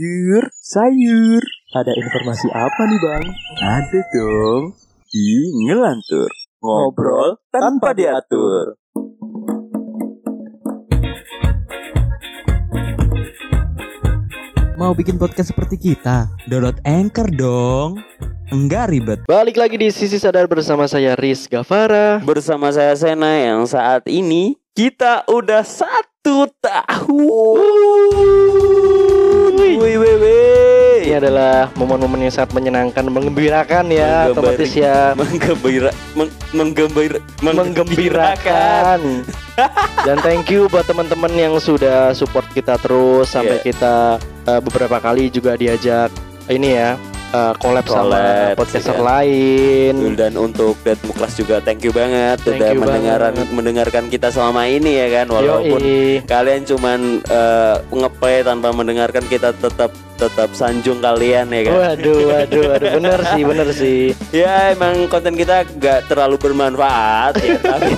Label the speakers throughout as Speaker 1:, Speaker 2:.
Speaker 1: Yur, sayur. Ada informasi apa nih bang?
Speaker 2: Ada dong di ngelantur ngobrol tanpa diatur.
Speaker 3: Mau bikin podcast seperti kita? Download Anchor dong. Enggak ribet.
Speaker 4: Balik lagi di sisi sadar bersama saya Riz Gavara.
Speaker 2: Bersama saya Sena yang saat ini kita udah satu tahun. Iya, Wih, wih, wih.
Speaker 4: Ini adalah momen-momen yang sangat menyenangkan, mengembirakan ya,
Speaker 2: Menggembari-
Speaker 4: otomatis ya,
Speaker 2: menggembira, meng, menggembira,
Speaker 4: menggembirakan. Dan thank you buat teman-teman yang sudah support kita terus sampai
Speaker 2: Yeah.
Speaker 4: kita eh, beberapa kali juga diajak ini ya, eh, collab sama
Speaker 2: Collab,
Speaker 4: podcaster
Speaker 2: iya.
Speaker 4: lain.
Speaker 2: Dan untuk Dead Muklas juga thank you banget
Speaker 4: Thank
Speaker 2: udah
Speaker 4: you
Speaker 2: mendengaran
Speaker 4: banget.
Speaker 2: mendengarkan kita selama ini ya kan walaupun
Speaker 4: Yoi.
Speaker 2: kalian cuman eh, ngeplay tanpa mendengarkan kita tetap tetap sanjung kalian ya kan.
Speaker 4: Waduh, waduh, waduh, bener sih, bener sih.
Speaker 2: Ya emang konten kita nggak terlalu bermanfaat ya tapi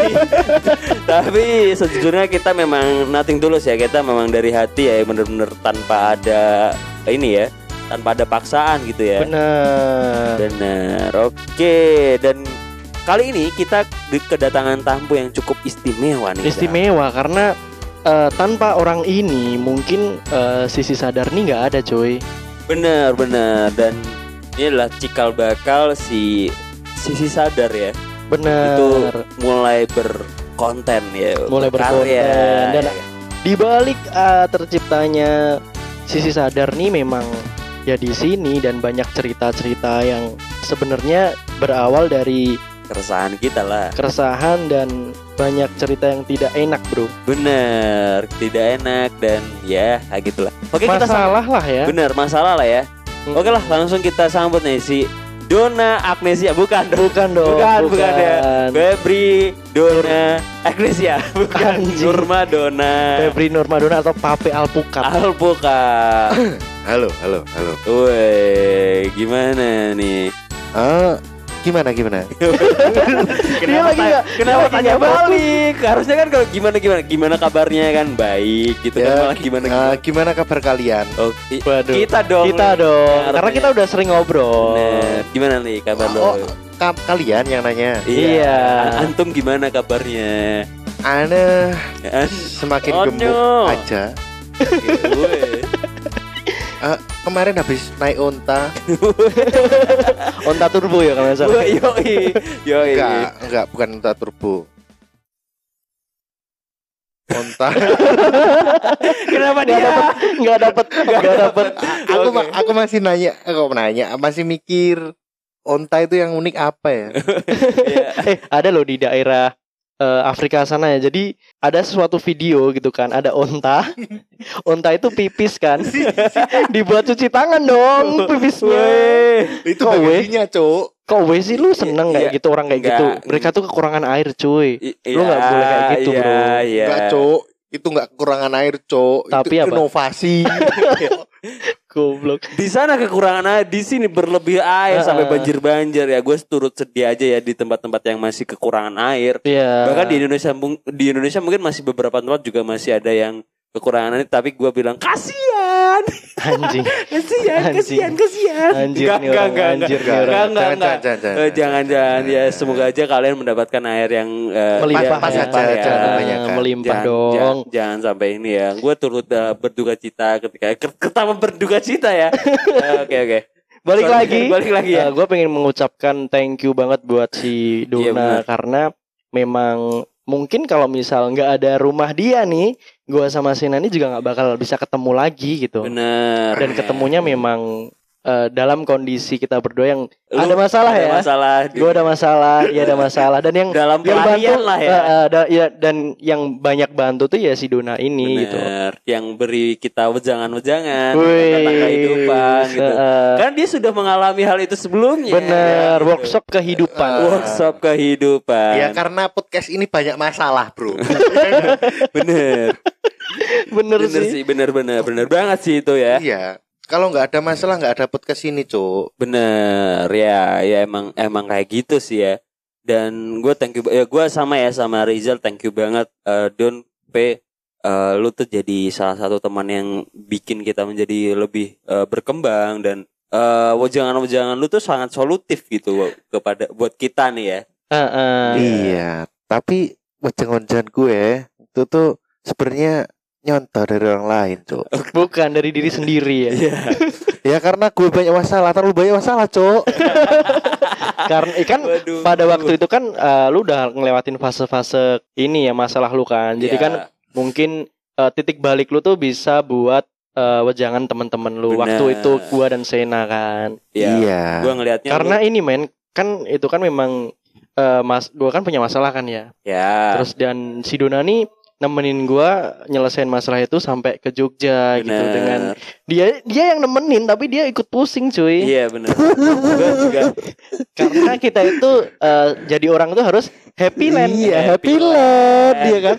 Speaker 2: tapi sejujurnya kita memang nothing tulus ya kita memang dari hati ya bener-bener tanpa ada ini ya tanpa ada paksaan gitu ya.
Speaker 4: Bener.
Speaker 2: Benar. eh, Oke dan kali ini kita di- kedatangan tamu yang cukup istimewa nih. Kak. Iya.
Speaker 4: Istimewa karena eh, tanpa orang ini mungkin eh, sisi sadar nih nggak ada, coy.
Speaker 2: Bener bener dan ini adalah cikal bakal si sisi sadar ya
Speaker 4: Bener.
Speaker 2: itu mulai berkonten ya
Speaker 4: Mulai
Speaker 2: berkarya.
Speaker 4: berkonten. Dan- Di balik eh, terciptanya sisi sadar nih memang ya di sini dan banyak cerita-cerita yang sebenarnya berawal dari
Speaker 2: keresahan kita lah
Speaker 4: keresahan dan banyak cerita yang tidak enak, Bro.
Speaker 2: bener tidak enak dan ya kayak gitulah oke kita sambut
Speaker 4: Masalah lah ya.
Speaker 2: bener masalah lah ya
Speaker 4: Mm.
Speaker 2: oke lah langsung kita sambut nih si Dona Agnesia bukan dong
Speaker 4: Bukan dong.
Speaker 2: Bukan, bukan ya.
Speaker 4: bukan.
Speaker 2: Febri Dona Agnesia bukan
Speaker 4: Anjing.
Speaker 2: Nurma Dona
Speaker 4: Febri Nurmadona atau Pape Alpukat.
Speaker 2: Alpuka
Speaker 5: Halo, halo, halo.
Speaker 2: Woi, gimana nih?
Speaker 5: Ah, gimana gimana?
Speaker 4: Dia lagi
Speaker 2: ta-
Speaker 4: nggak- dia
Speaker 2: kenapa
Speaker 4: lagi
Speaker 2: tanya
Speaker 4: nggak fokus.
Speaker 2: balik? Harusnya kan kalau gimana gimana gimana kabarnya kan baik gitu kan malah gimana
Speaker 5: ah,
Speaker 2: gimana.
Speaker 5: gimana kabar kalian?
Speaker 2: Oh, i-
Speaker 4: Iya. Waduh.
Speaker 2: kita dong.
Speaker 4: Kita dong.
Speaker 2: Harusnya.
Speaker 4: Karena kita udah sering ngobrol.
Speaker 2: Bener. Gimana nih kabar lo? Iya.
Speaker 5: Oh, ka- kalian yang nanya.
Speaker 4: iya.
Speaker 2: A- Antum gimana kabarnya?
Speaker 5: Ane
Speaker 2: An-
Speaker 5: semakin
Speaker 2: Oh,
Speaker 5: gemuk
Speaker 2: no.
Speaker 5: aja.
Speaker 2: Woi.
Speaker 5: Kemarin habis naik unta.
Speaker 4: Onta turbo ya kalau nggak salah.
Speaker 2: Woi, Yoi, yoi.
Speaker 5: Enggak, enggak bukan unta turbo. Unta.
Speaker 2: Kenapa
Speaker 4: Nggak
Speaker 2: dia?
Speaker 4: dapet, nggak dapet, nggak dapet.
Speaker 5: aku ma- aku masih nanya, aku nanya, masih mikir unta itu yang unik apa ya?
Speaker 2: Iya.
Speaker 4: Eh, ada loh di daerah eh, Afrika sana ya. Jadi ada suatu video gitu kan, ada onta. Onta itu pipis kan. Dibuat cuci tangan dong pipisnya.
Speaker 2: Woi.
Speaker 5: itu
Speaker 4: Kowe.
Speaker 2: ya?
Speaker 5: bagasinya, Cuk.
Speaker 4: Kok weh sih lu seneng kayak
Speaker 2: Iya.
Speaker 4: gitu orang kayak
Speaker 2: Nggak.
Speaker 4: gitu. Mereka tuh kekurangan air, cuy.
Speaker 2: I-
Speaker 4: Lu nggak
Speaker 2: iya,
Speaker 4: boleh kayak gitu,
Speaker 2: iya,
Speaker 4: bro.
Speaker 2: Iya.
Speaker 5: Enggak, Cuk. Itu enggak kekurangan air, Cuk.
Speaker 4: Tapi
Speaker 5: itu
Speaker 4: apa?
Speaker 5: inovasi.
Speaker 4: Goblok.
Speaker 2: Di sana kekurangan air, di sini berlebih air
Speaker 4: Heeh.
Speaker 2: sampai banjir-banjir ya. Gue turut sedih aja ya di tempat-tempat yang masih kekurangan air.
Speaker 4: Iya.
Speaker 2: Bahkan di Indonesia mung- di Indonesia mungkin masih beberapa tempat juga masih ada yang kekurangan air tapi gue bilang kasihan
Speaker 4: anjing.
Speaker 2: kasihan
Speaker 4: Anjing.
Speaker 2: kasihan kasihan
Speaker 4: Anjir
Speaker 2: Nggak,
Speaker 4: nih
Speaker 2: nggak,
Speaker 4: orang,
Speaker 2: nggak, nggak.
Speaker 4: anjir nih
Speaker 5: Nggak,
Speaker 4: orang.
Speaker 2: Nggak, nggak,
Speaker 5: jangan,
Speaker 2: nggak.
Speaker 5: jangan, jangan,
Speaker 2: Eh, jangan jangan ya
Speaker 5: jangan.
Speaker 2: semoga aja kalian mendapatkan air yang eh,
Speaker 4: Melimpah
Speaker 5: pas
Speaker 4: ya.
Speaker 5: aja, jangan kebanyakan.
Speaker 4: Melimpah
Speaker 2: Jangan,
Speaker 4: dong.
Speaker 2: jangan, jangan sampai ini ya. Gue turut eh, berduka cita ketika ket- ketama berduka cita ya. Eh, Oke oke.
Speaker 4: Balik
Speaker 2: Sorry,
Speaker 4: lagi.
Speaker 2: Balik lagi ya.
Speaker 4: gue Eh, pengen mengucapkan thank you banget buat si
Speaker 2: Iya, benar.
Speaker 4: Dona karena memang mungkin kalau misal nggak ada rumah dia nih, gue sama Sina ini juga nggak bakal bisa ketemu lagi gitu.
Speaker 2: Bener. Iya.
Speaker 4: Dan ketemunya memang eh, dalam kondisi kita berdua yang
Speaker 2: Lu
Speaker 4: ada masalah
Speaker 2: ada
Speaker 4: ya.
Speaker 2: Masalah. di-
Speaker 4: Gue ada masalah, dia ada masalah, dan yang
Speaker 2: dalam
Speaker 4: yang
Speaker 2: pelarian lah ya.
Speaker 4: eh, eh, da- ya, dan yang banyak bantu tuh ya si Dona ini gitu.
Speaker 2: Bener. Yang beri kita wejangan-wejangan
Speaker 4: Wih,
Speaker 2: tentang kehidupan gitu.
Speaker 4: eh,
Speaker 2: Karena dia sudah mengalami hal itu sebelumnya.
Speaker 4: bener
Speaker 2: Gitu.
Speaker 4: workshop Iya kan? kehidupan.
Speaker 5: Eh,
Speaker 2: Workshop kehidupan.
Speaker 5: Ya karena podcast ini banyak masalah, Bro.
Speaker 2: bener.
Speaker 4: bener,
Speaker 2: Bener
Speaker 4: sih.
Speaker 2: sih, bener bener bener banget sih itu ya.
Speaker 5: Iya. Kalau nggak ada masalah nggak ada podcast ini, Cuk.
Speaker 2: Bener ya, ya emang emang kayak gitu sih ya. Dan gue thank you, ba- ya gue sama ya sama Rizal thank you banget eh, Don P eh, lu tuh jadi salah satu teman yang bikin kita menjadi lebih eh, berkembang dan eh, wajangan-wajangan lu tuh sangat solutif gitu wa- kepada buat kita nih ya.
Speaker 4: Heeh.
Speaker 5: Iya, tapi wajang-wajangan gue itu tuh sebenarnya nyontoh dari orang lain, Cok.
Speaker 4: Bukan dari diri sendiri ya.
Speaker 2: Iya.
Speaker 5: Ya karena gue banyak masalah, terlalu banyak masalah, Cok.
Speaker 4: Karena ikan
Speaker 2: Waduh.
Speaker 4: pada waktu itu kan eh, lu udah ngelewatin fase-fase ini ya masalah lu kan. Jadi
Speaker 2: Iya,
Speaker 4: kan mungkin eh, titik balik lu tuh bisa buat eh, wejangan teman-teman lu
Speaker 2: Benar.
Speaker 4: waktu itu gua dan Sena kan.
Speaker 2: iya.
Speaker 5: Iya.
Speaker 2: Gua ngelihatnya
Speaker 4: Karena
Speaker 2: lu-
Speaker 4: ini men kan itu kan memang eh, mas gua kan punya masalah kan ya.
Speaker 2: ya.
Speaker 4: Terus dan si Dona nih nemenin gua nyelesain masalah itu sampai ke Jogja gitu
Speaker 2: benar.
Speaker 4: dengan dia dia yang nemenin tapi dia ikut pusing cuy
Speaker 2: Iya benar. Gua juga
Speaker 4: karena kita itu eh, jadi orang itu harus happy land Eh,
Speaker 5: Iya, happy
Speaker 2: Happy
Speaker 5: land,
Speaker 2: land.
Speaker 5: iya kan?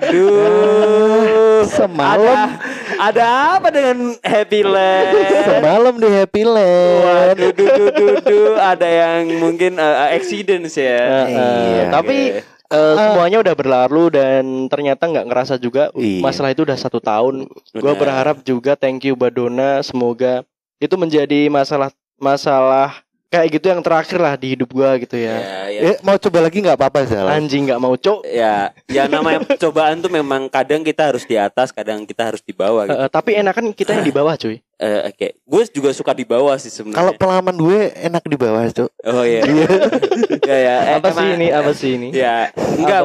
Speaker 2: Waduh.
Speaker 5: Semalam,
Speaker 2: Ada ada apa dengan Happy Land?
Speaker 5: semalam di happy land.
Speaker 2: Waduh, duh, duh, duh, duh. ada yang mungkin uh, accidents ya.
Speaker 4: Eh, eh,
Speaker 5: Iya.
Speaker 4: tapi
Speaker 2: Oke.
Speaker 4: eh, semuanya udah berlalu dan ternyata nggak ngerasa juga
Speaker 5: Iya.
Speaker 4: masalah itu udah satu tahun gue
Speaker 2: Benar.
Speaker 4: berharap juga thank you Badona semoga itu menjadi masalah masalah kayak gitu yang terakhir lah di hidup gua gitu
Speaker 2: ya,
Speaker 4: ya
Speaker 2: ya.
Speaker 5: Eh, mau coba lagi nggak apa-apa salah.
Speaker 4: anjing nggak mau cok
Speaker 2: Ya, ya namanya cobaan tuh memang kadang kita harus di atas, kadang kita harus di
Speaker 5: Iya.
Speaker 2: bawah. Gitu.
Speaker 4: Eh, tapi enakan kita yang di bawah cuy
Speaker 2: Eh, Oke, gue juga suka di bawah sih
Speaker 5: Kalau
Speaker 2: sebenarnya.
Speaker 5: pengalaman gue enak di bawah, Cok.
Speaker 2: oh iya, ya ya. Eh,
Speaker 4: apa sih
Speaker 2: emang-
Speaker 4: ini apa sih ini
Speaker 2: Ya, enggak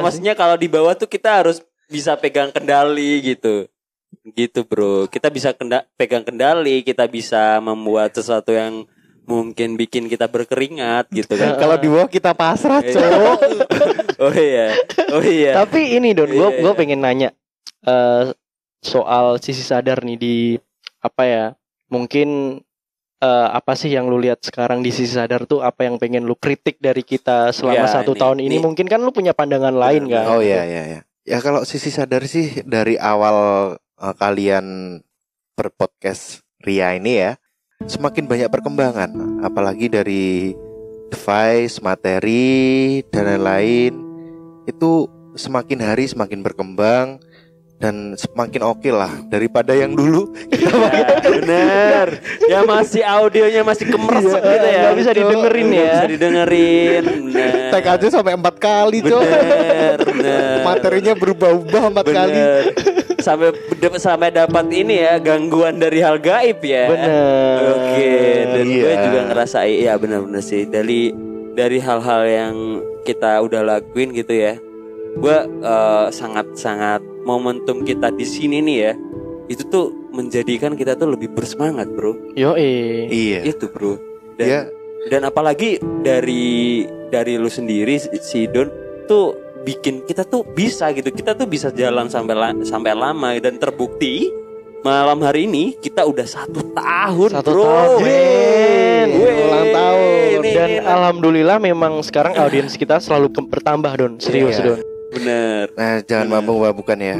Speaker 4: Iya. Apa sih?
Speaker 2: maksudnya kalau di bawah tuh kita harus bisa pegang kendali gitu. Gitu, Bro. Kita bisa kenda- pegang kendali, kita bisa membuat sesuatu yang mungkin bikin kita berkeringat gitu kan.
Speaker 5: Kalau di bawah kita pasrah,
Speaker 2: Iya.
Speaker 5: Cok.
Speaker 2: oh iya. Oh iya.
Speaker 4: Tapi ini Don, gue
Speaker 2: Iya, iya.
Speaker 4: pengen nanya eh, soal sisi sadar nih di apa ya? Mungkin eh, apa sih yang lu lihat sekarang di sisi sadar tuh apa yang pengen lu kritik dari kita selama
Speaker 2: Ya,
Speaker 4: satu
Speaker 2: ini-
Speaker 4: tahun ini?
Speaker 2: ini-
Speaker 4: Mungkin kan lu punya pandangan
Speaker 2: Benar,
Speaker 4: lain kan?
Speaker 2: benar.
Speaker 5: Oh iya iya iya. Ya kalau sisi sadar sih dari awal eh, kalian berpodcast Ria ini ya semakin banyak perkembangan apalagi dari device, materi dan lain-lain itu semakin hari semakin berkembang dan semakin oke lah daripada yang dulu
Speaker 2: Ya, bener. Ya masih audionya masih kemeresek
Speaker 5: Iya,
Speaker 2: gitu ya.
Speaker 4: nggak bisa didengerin
Speaker 2: Nggak
Speaker 4: ya.
Speaker 2: Bisa didengerin. Bener.
Speaker 5: tag aja sampai empat kali cok
Speaker 2: Bener, bener.
Speaker 5: materinya berubah-ubah empat kali
Speaker 2: Bener. Sampai sampai dapat ini ya gangguan dari hal gaib ya.
Speaker 4: Bener.
Speaker 2: Oke, dan gue
Speaker 5: Iya.
Speaker 2: juga ngerasa iya benar-benar sih dari dari hal-hal yang kita udah lakuin gitu ya. Gue eh, sangat-sangat momentum kita di sini nih ya. Itu tuh menjadikan kita tuh lebih bersemangat, Bro.
Speaker 4: Yo
Speaker 5: iya
Speaker 2: Itu, Bro. Dan
Speaker 5: ya
Speaker 2: dan apalagi dari dari lu sendiri si- si Don tuh bikin kita tuh bisa gitu kita tuh bisa jalan sampai la- sampai lama dan terbukti malam hari ini kita udah satu tahun
Speaker 4: Satu
Speaker 2: bro.
Speaker 4: tahun, men.
Speaker 2: Wey.
Speaker 5: Ulang tahun.
Speaker 2: Ini-
Speaker 4: Dan
Speaker 2: ini-
Speaker 4: alhamdulillah memang sekarang audiens kita selalu ke- bertambah Don, serius
Speaker 5: Iya.
Speaker 4: Don.
Speaker 2: bener
Speaker 5: nah jangan mabuk-mabukan ya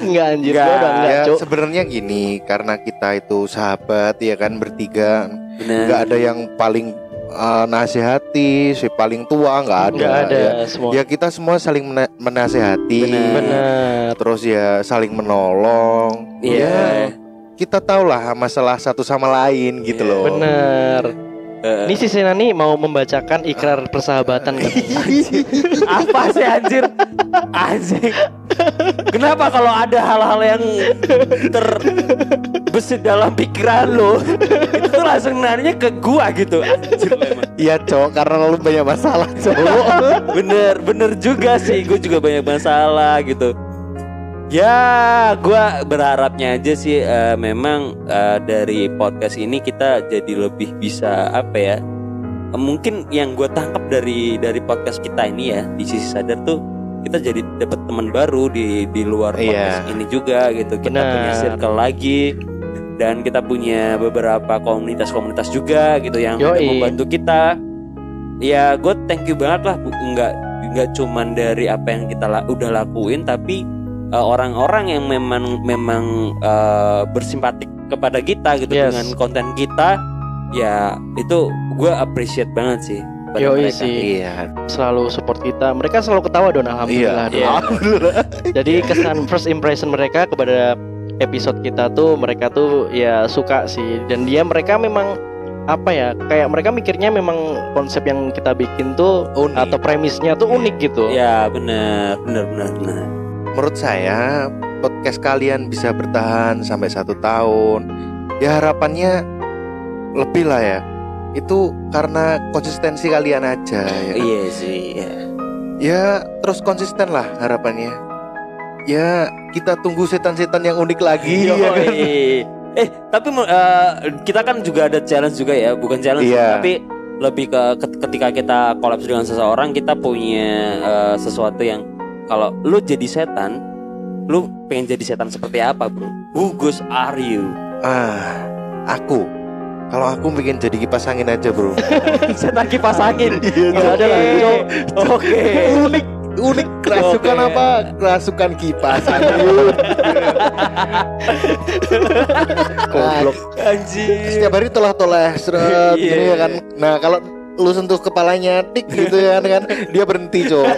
Speaker 4: Enggak anjir,
Speaker 2: Nggak.
Speaker 4: gua udah enggak,
Speaker 5: ya
Speaker 4: Cuk.
Speaker 5: sebenarnya gini karena kita itu sahabat ya kan bertiga
Speaker 2: bener
Speaker 5: nggak ada yang paling eh, nasihati si paling tua nggak ada,
Speaker 4: Enggak ada
Speaker 5: Ya.
Speaker 4: semua.
Speaker 5: Ya, kita semua saling mena- menasehati
Speaker 2: Benar.
Speaker 4: Bener.
Speaker 5: terus ya saling menolong
Speaker 2: Iya.
Speaker 5: ya kita tahulah masalah satu sama lain gitu
Speaker 2: Iya.
Speaker 5: loh
Speaker 4: Bener.
Speaker 2: Eh,
Speaker 4: Ini si Sena nih mau membacakan ikrar persahabatan
Speaker 2: Iya.
Speaker 4: katanya.
Speaker 2: apa sih anjir anjing kenapa kalau ada hal-hal yang terbesit dalam pikiran lo itu tuh langsung nanya ke gua gitu anjir lu emang.
Speaker 5: Iya cowok karena lu banyak masalah cowok
Speaker 2: bener bener juga sih gue juga banyak masalah gitu ya gua berharapnya aja sih eh, memang eh, dari podcast ini kita jadi lebih bisa apa ya Eh, mungkin yang gue tangkap dari dari podcast kita ini ya di sisi sadar tuh kita jadi dapat teman baru di di luar podcast
Speaker 5: Iya.
Speaker 2: ini juga gitu kita
Speaker 4: Benar.
Speaker 2: punya circle lagi dan kita punya beberapa komunitas-komunitas juga gitu yang udah
Speaker 4: Yoi.
Speaker 2: membantu kita ya gue thank you banget lah Bu- nggak nggak cuman dari apa yang kita la- udah lakuin tapi eh, orang-orang yang memang memang eh, bersimpatik kepada kita gitu
Speaker 4: Yes.
Speaker 2: dengan konten kita ya itu gue appreciate banget sih kepada
Speaker 4: Yoi
Speaker 2: mereka.
Speaker 4: sih.
Speaker 5: Iya.
Speaker 4: selalu support kita. Mereka selalu ketawa don alhamdulillah. Don.
Speaker 2: Iya.
Speaker 5: Alhamdulillah.
Speaker 4: Jadi kesan first impression mereka kepada episode kita tuh mereka tuh ya suka sih dan dia mereka memang apa ya kayak mereka mikirnya memang konsep yang kita bikin tuh
Speaker 5: Unik.
Speaker 4: atau premisnya tuh unik gitu.
Speaker 2: Ya benar, benar, benar, benar.
Speaker 5: Menurut saya podcast kalian bisa bertahan sampai satu tahun. Ya harapannya lebih lah ya. Itu karena konsistensi kalian aja. Ya, kan?
Speaker 2: Iya sih. iya.
Speaker 5: ya terus konsisten lah harapannya. Ya kita tunggu setan-setan yang unik lagi.
Speaker 4: Iya,
Speaker 5: ya
Speaker 2: Iya.
Speaker 5: kan?
Speaker 2: Yoi. Eh tapi eh, kita kan juga ada challenge juga ya, bukan challenge
Speaker 5: Iya.
Speaker 2: tapi lebih ke ke- ketika kita kolaps dengan seseorang kita punya eh, sesuatu yang kalau lu jadi setan, lu pengen jadi setan seperti apa bro? Who goes are you?
Speaker 5: Ah, aku. Kalau aku bikin jadi kipas angin aja, Bro.
Speaker 2: setan kipas angin.
Speaker 4: Nggak ada lah.
Speaker 2: Oke. Oke.
Speaker 5: unik, unik. Kerasukan
Speaker 2: Oke.
Speaker 5: apa? Kerasukan kipas angin.
Speaker 4: Goblok.
Speaker 2: Anjir.
Speaker 5: Setiap hari telah-telah
Speaker 2: Iya.
Speaker 5: seret gini ya kan. Nah, kalau lu sentuh kepalanya tik gitu ya kan dia berhenti cowok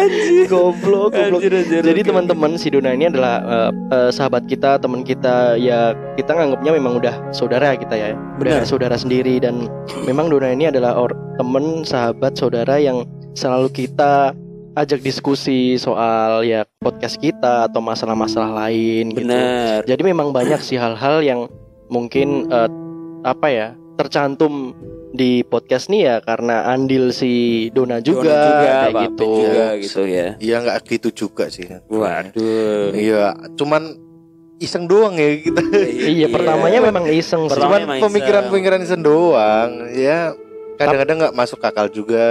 Speaker 2: Iya.
Speaker 4: Goblok, goblok.
Speaker 2: Anjir, anjir,
Speaker 4: Jadi
Speaker 2: oke,
Speaker 4: teman-teman si Dona ini adalah eh, eh, sahabat kita, teman kita ya kita nganggapnya memang udah saudara kita ya. Udah
Speaker 2: Benar.
Speaker 4: saudara sendiri dan memang Dona ini adalah or, teman, sahabat, saudara yang selalu kita ajak diskusi soal ya podcast kita atau masalah-masalah lain gitu.
Speaker 2: Benar.
Speaker 4: Jadi memang banyak sih hal-hal yang mungkin eh, apa ya tercantum di podcast nih ya karena andil si Dona juga,
Speaker 2: Dona
Speaker 4: kayak
Speaker 2: Pak
Speaker 4: gitu.
Speaker 2: Pit juga gitu ya.
Speaker 5: iya nggak gitu juga sih
Speaker 2: Waduh.
Speaker 5: iya cuman iseng doang ya kita
Speaker 4: Iya, pertamanya memang iseng sih.
Speaker 2: Pertama
Speaker 5: cuman
Speaker 2: emang iseng.
Speaker 5: pemikiran-pemikiran iseng doang ya kadang-kadang nggak masuk akal juga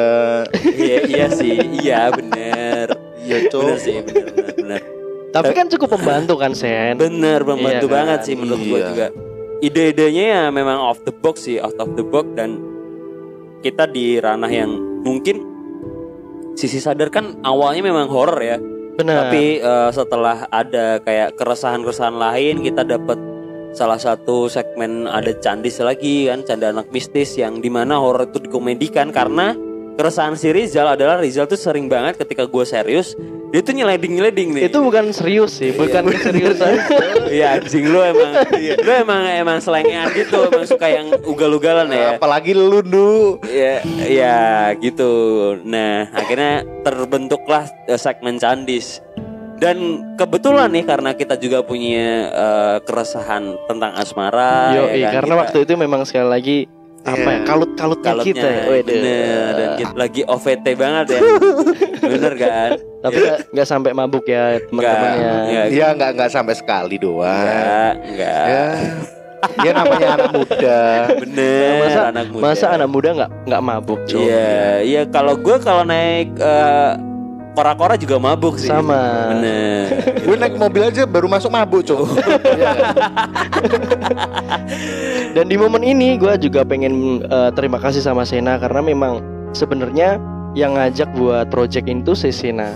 Speaker 2: iya, iya sih, iya benar.
Speaker 5: iya
Speaker 2: Benar
Speaker 5: cowok
Speaker 2: sih, benar benar, benar. Eh.
Speaker 4: Tapi kan cukup membantu kan Sen
Speaker 2: Benar membantu
Speaker 4: Iya kan?
Speaker 2: banget sih menurut gua
Speaker 5: Iya.
Speaker 2: juga. Ide-idenya ya memang off the box sih, out of the box dan kita di ranah yang mungkin sisi sadar kan awalnya memang horor ya.
Speaker 4: Benar
Speaker 2: Tapi eh, setelah ada kayak keresahan-keresahan lain, kita dapat salah satu segmen ada candis lagi kan, canda anak mistis yang dimana horor itu dikomedikan karena keresahan si Rizal adalah Rizal tuh sering banget ketika gue serius dia tuh nyeleding-nyeleding nih.
Speaker 4: Itu bukan serius sih Bukan
Speaker 2: Iya.
Speaker 4: keseriusan
Speaker 2: Iya anjing lu emang lu emang emang selengean gitu, emang suka yang ugal-ugalan ya.
Speaker 5: apalagi lu Nu.
Speaker 2: Ya, ya gitu. Nah, akhirnya terbentuklah eh, segmen Candis. Dan kebetulan nih karena kita juga punya eh, keresahan tentang asmara.
Speaker 4: Yo, iya,
Speaker 2: ya kan?
Speaker 4: Karena
Speaker 2: Kita-
Speaker 4: waktu itu memang sekali lagi Apa ya
Speaker 5: Iya.
Speaker 4: Kalut-kalutnya
Speaker 2: kalutnya
Speaker 4: kita ya Wede.
Speaker 2: bener dan kita lagi OVT banget ya. bener kan?
Speaker 4: Tapi nggak- nggak sampai mabuk ya teman-teman ya
Speaker 2: Enggak.
Speaker 5: ya nggak nggak sampai sekali doang
Speaker 2: Enggak, enggak.
Speaker 5: ya ya namanya anak muda
Speaker 2: Bener
Speaker 4: Masa-
Speaker 2: anak muda.
Speaker 4: Masa anak ya? muda nggak nggak mabuk cuy
Speaker 2: Iya, iya kalau gue kalau naik eh, kora-kora juga mabuk sih.
Speaker 4: Sama.
Speaker 2: Bener.
Speaker 5: gue naik mobil aja baru masuk mabuk
Speaker 2: Oh.
Speaker 5: cowok Iya kan?
Speaker 4: Dan di momen ini gue juga pengen eh, terima kasih sama Sena Karena memang sebenarnya yang ngajak buat project ini tuh si Sena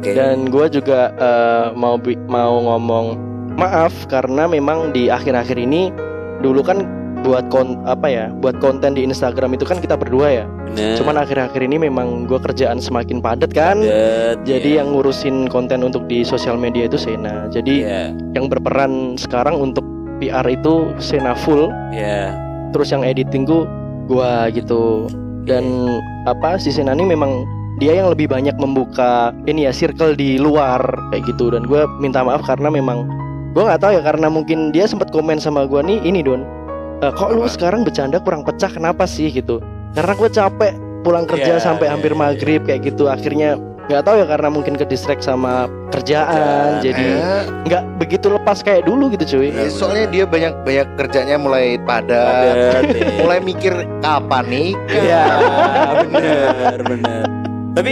Speaker 2: Oke.
Speaker 4: Dan gue juga eh, mau bi- mau ngomong maaf karena memang di akhir-akhir ini dulu kan buat kon apa ya buat konten di Instagram itu kan kita berdua ya.
Speaker 2: Bener.
Speaker 4: Cuman akhir-akhir ini memang gue kerjaan semakin padat kan.
Speaker 2: Eh. Padat,
Speaker 4: Jadi
Speaker 2: iya.
Speaker 4: yang ngurusin konten untuk di sosial media itu Sena. Jadi
Speaker 2: Iya,
Speaker 4: yang berperan sekarang untuk PR itu Sena full.
Speaker 2: iya.
Speaker 4: Terus yang editing gue gua gitu. Dan apa si Sena ini memang dia yang lebih banyak membuka ini ya circle di luar kayak gitu dan gue minta maaf karena memang gue nggak tahu ya karena mungkin dia sempat komen sama gue nih ini don eh, kok lu
Speaker 5: Apa?
Speaker 4: sekarang bercanda kurang pecah kenapa sih gitu karena gue capek pulang kerja
Speaker 2: Iya,
Speaker 4: sampai
Speaker 2: iya,
Speaker 4: hampir
Speaker 2: iya.
Speaker 4: maghrib kayak gitu akhirnya nggak tahu ya karena mungkin ke distract sama kerjaan
Speaker 2: Kerjaan, iya.
Speaker 4: jadi
Speaker 5: Ya,
Speaker 4: nggak begitu lepas kayak dulu gitu cuy
Speaker 5: ya, soalnya dia banyak banyak kerjanya mulai
Speaker 2: Iya.
Speaker 5: padat
Speaker 2: Padat,
Speaker 5: uh, mulai mikir kapan nikah
Speaker 2: Iya, bener, bener. Tapi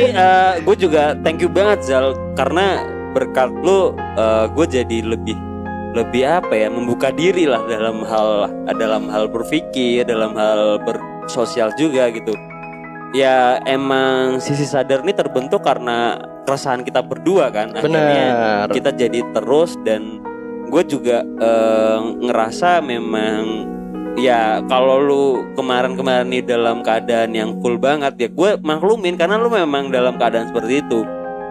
Speaker 2: gue juga thank you banget Zal karena berkat lu gue jadi lebih lebih apa ya membuka diri lah dalam hal dalam hal berpikir dalam hal bersosial juga gitu ya emang sisi sadar ini terbentuk karena keresahan kita berdua kan akhirnya
Speaker 4: benar
Speaker 2: kita jadi terus dan gue juga eh, ngerasa memang ya kalau lu kemarin-kemarin nih dalam keadaan yang full banget ya gue maklumin karena lu memang dalam keadaan seperti itu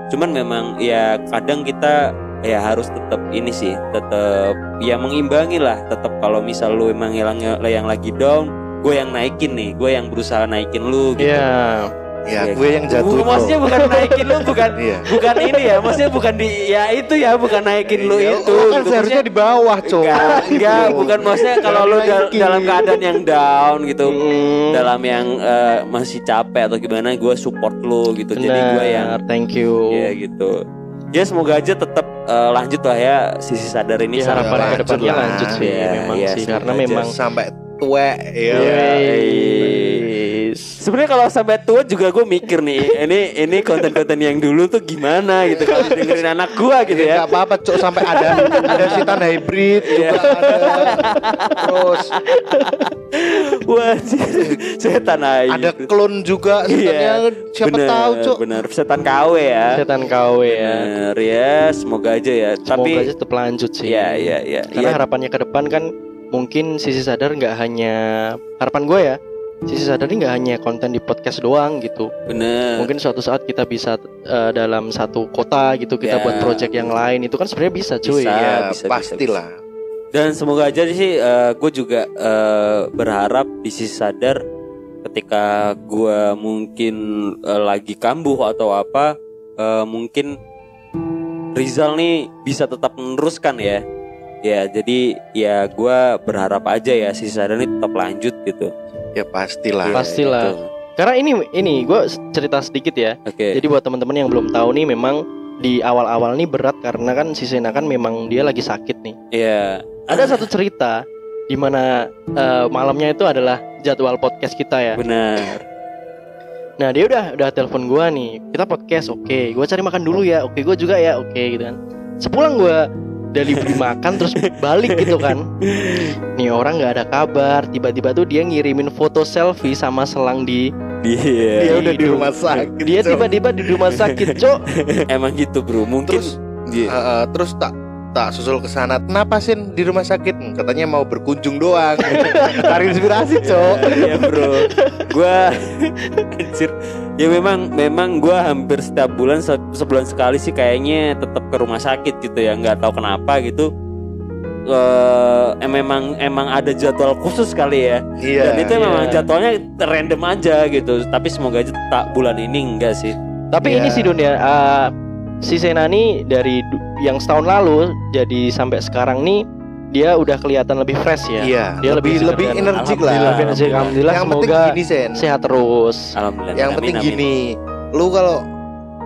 Speaker 2: cuman memang ya kadang kita ya harus tetap ini sih tetap ya mengimbangi lah tetap kalau misal lu emang yang, yang lagi down gue yang naikin nih gue yang berusaha naikin lu gitu
Speaker 4: Iya.
Speaker 5: ya
Speaker 2: Ya,
Speaker 5: gue yang
Speaker 2: Bu-
Speaker 5: jatuh
Speaker 2: maksudnya gitu kan?
Speaker 5: bro.
Speaker 2: bukan naikin lu bukan
Speaker 5: Iya.
Speaker 2: bukan ini ya maksudnya bukan di ya itu ya bukan naikin lu
Speaker 5: Ya,
Speaker 2: itu
Speaker 5: lu kan
Speaker 2: gitu.
Speaker 4: Iya.
Speaker 5: seharusnya di bawah cowok
Speaker 2: Enggak, enggak,
Speaker 5: Bro.
Speaker 2: bukan maksudnya kalau lu dal-
Speaker 5: Naikin.
Speaker 2: dalam keadaan yang down gitu,
Speaker 4: Mm.
Speaker 2: dalam yang eh, masih capek atau gimana, gue support lu gitu. Jadi gue yang
Speaker 4: Benar, thank you.
Speaker 2: ya gitu. Ya semoga aja tetap eh, lanjut lah ya sisi sadar ini
Speaker 4: Ini
Speaker 2: sampai
Speaker 4: Iya, harapan
Speaker 5: lanjut
Speaker 4: ke depannya
Speaker 5: lah.
Speaker 4: lanjut sih
Speaker 2: Iya,
Speaker 4: memang
Speaker 2: iya,
Speaker 4: sih
Speaker 2: semoga
Speaker 4: karena
Speaker 2: aja.
Speaker 4: memang
Speaker 5: sampai tuwek ya
Speaker 2: Iya,
Speaker 4: Yes.
Speaker 2: Sebenarnya kalau sampai tua juga gue mikir nih, ini ini konten-konten yang dulu tuh gimana gitu kalau dengerin anak gue gitu ya. Iya.
Speaker 5: Gak apa-apa cok sampai ada ada sitan hybrid juga ada terus
Speaker 2: Wah, setan aja.
Speaker 5: ada klon juga
Speaker 2: gitu. Iya,
Speaker 5: setannya siapa
Speaker 2: bener,
Speaker 5: tahu cok
Speaker 2: Bener, setan KW ya.
Speaker 4: Setan KW ya.
Speaker 2: Bener ya, semoga aja ya. Tapi
Speaker 4: Semoga aja tetap lanjut sih.
Speaker 2: ya ya ya.
Speaker 4: Karena
Speaker 2: ya.
Speaker 4: harapannya ke depan kan mungkin sisi sadar nggak hanya harapan gue ya. Sisi sadar ini nggak hanya konten di podcast doang gitu.
Speaker 2: bener.
Speaker 4: Mungkin suatu saat kita bisa eh, dalam satu kota gitu kita
Speaker 2: Ya.
Speaker 4: buat project yang lain itu kan sebenarnya bisa cuy.
Speaker 2: Bisa.
Speaker 5: ya
Speaker 2: Iya, bisa,
Speaker 5: pastilah
Speaker 2: Dan semoga aja sih gue juga eh, berharap di sisi sadar ketika gue mungkin eh, lagi kambuh atau apa eh, mungkin Rizal nih bisa tetap meneruskan ya. Ya, jadi ya gue berharap aja ya sisi sadar ini tetap lanjut gitu.
Speaker 5: ya pastilah
Speaker 2: Ya,
Speaker 4: Pastilah.
Speaker 2: gitu.
Speaker 4: Karena ini ini gue cerita sedikit ya.
Speaker 2: Oke.
Speaker 4: Jadi buat teman-teman yang belum tahu nih memang di awal-awal nih berat karena kan si Sena kan memang dia lagi sakit nih.
Speaker 2: Iya.
Speaker 5: Ah.
Speaker 4: Ada satu cerita di mana eh, malamnya itu adalah jadwal podcast kita ya.
Speaker 2: Benar.
Speaker 4: Nah, dia udah udah telepon gua nih. Kita podcast, oke. Gua cari makan dulu ya. Oke, gua juga ya. Oke, gitu kan. Sepulang gua delivery makan terus balik gitu kan. Nih orang nggak ada kabar. Tiba-tiba tuh dia ngirimin foto selfie sama selang di
Speaker 2: Iya.
Speaker 5: dia
Speaker 4: Iya,
Speaker 5: udah di
Speaker 4: hidup.
Speaker 5: rumah sakit
Speaker 4: dia
Speaker 5: Gitu, Cok.
Speaker 4: tiba-tiba di rumah sakit, Cok.
Speaker 2: Emang gitu bro, mungkin
Speaker 5: Iya. terus
Speaker 2: Iya.
Speaker 5: eh, eh, terus tak tak susul ke sana kenapa sih di rumah sakit Hmm, katanya mau berkunjung doang cari inspirasi cok
Speaker 2: Iya bro, gua anjir. Ya memang memang gua hampir setiap bulan se- sebulan sekali sih kayaknya tetap ke rumah sakit gitu ya, nggak tahu kenapa gitu. Eh, em- memang emang ada jadwal khusus kali ya.
Speaker 5: iya
Speaker 2: Dan itu
Speaker 4: Iya.
Speaker 2: memang jadwalnya random aja gitu. Tapi semoga aja tak bulan ini enggak sih.
Speaker 4: Tapi
Speaker 5: Iya.
Speaker 4: ini sih dunia eh, si Sena nih dari du- yang setahun lalu jadi sampai sekarang nih dia udah kelihatan lebih fresh ya.
Speaker 5: iya
Speaker 4: Dia
Speaker 5: lebih
Speaker 4: lebih
Speaker 5: lebih
Speaker 4: segar.
Speaker 5: energik lah
Speaker 2: Alhamdulillah.
Speaker 4: Tapi nasib- alhamdulillah
Speaker 5: yang penting
Speaker 4: semoga
Speaker 5: gini sen
Speaker 4: sehat terus.
Speaker 2: Alhamdulillah.
Speaker 5: yang
Speaker 2: Amin,
Speaker 5: penting
Speaker 2: amin.
Speaker 5: gini lu kalau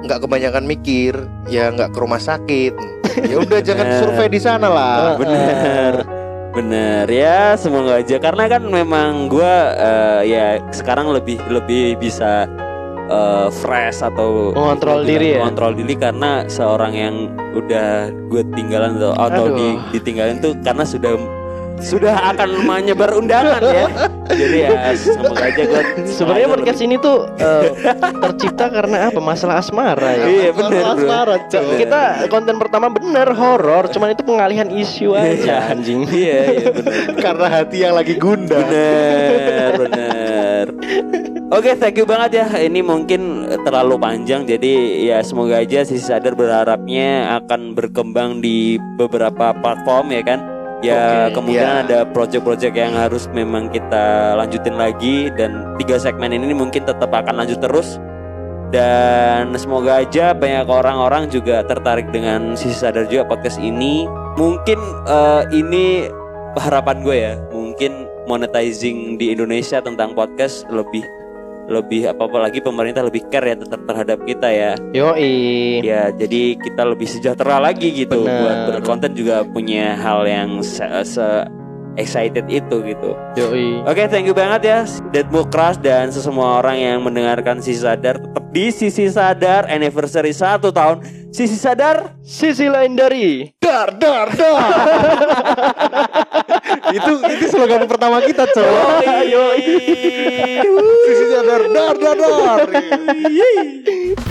Speaker 5: nggak kebanyakan mikir ya nggak ke rumah sakit ya udah jangan
Speaker 2: Bener.
Speaker 5: survei di sana lah
Speaker 4: Eh,
Speaker 2: bener.
Speaker 4: eh,
Speaker 2: Bener ya semoga aja karena kan memang gua eh, ya sekarang lebih lebih bisa eh, fresh atau
Speaker 4: Mengontrol diri ya?
Speaker 2: kontrol diri karena seorang yang udah gue tinggalan atau, atau
Speaker 4: Aduh.
Speaker 2: di- ditinggalin tuh karena sudah sudah akan menyebar undangan ya jadi ya semoga aja gue
Speaker 4: Sebenarnya podcast ini tuh eh, tercipta karena apa? Masalah asmara ya.
Speaker 2: iya bener
Speaker 5: Masalah
Speaker 2: bro
Speaker 5: asmara, Cok.
Speaker 4: Kita konten pertama bener horor, cuman itu pengalihan isu aja anjing.
Speaker 2: iya iya bener
Speaker 5: karena hati yang lagi gundah
Speaker 2: Bener, bener. Oke, thank you banget ya. Ini mungkin terlalu panjang, jadi ya semoga aja sisi sadar berharapnya akan berkembang di beberapa platform ya kan. Ya
Speaker 4: Oke,
Speaker 2: kemungkinan
Speaker 5: ya.
Speaker 2: ada project-project yang harus memang kita lanjutin lagi dan tiga segmen ini mungkin tetap akan lanjut terus. Dan semoga aja banyak orang-orang juga tertarik dengan sisi sadar juga podcast ini. Mungkin eh, ini harapan gue ya mungkin monetizing di Indonesia tentang podcast lebih lebih apa apa lagi pemerintah lebih care ya tetap terhadap kita ya
Speaker 4: Yoi.
Speaker 2: ya jadi kita lebih sejahtera lagi gitu
Speaker 4: Benar.
Speaker 2: buat berkonten juga punya hal yang se, se- excited itu gitu
Speaker 4: Yoi.
Speaker 2: oke thank you banget ya Deadbook Crush dan semua orang yang mendengarkan Sisi Sadar tetap di Sisi Sadar anniversary satu tahun Sisi Sadar
Speaker 4: Sisi lain dari
Speaker 5: dar dar dar itu itu slogan pertama kita cok
Speaker 2: Yoi.
Speaker 5: sisi sadar dar dar dar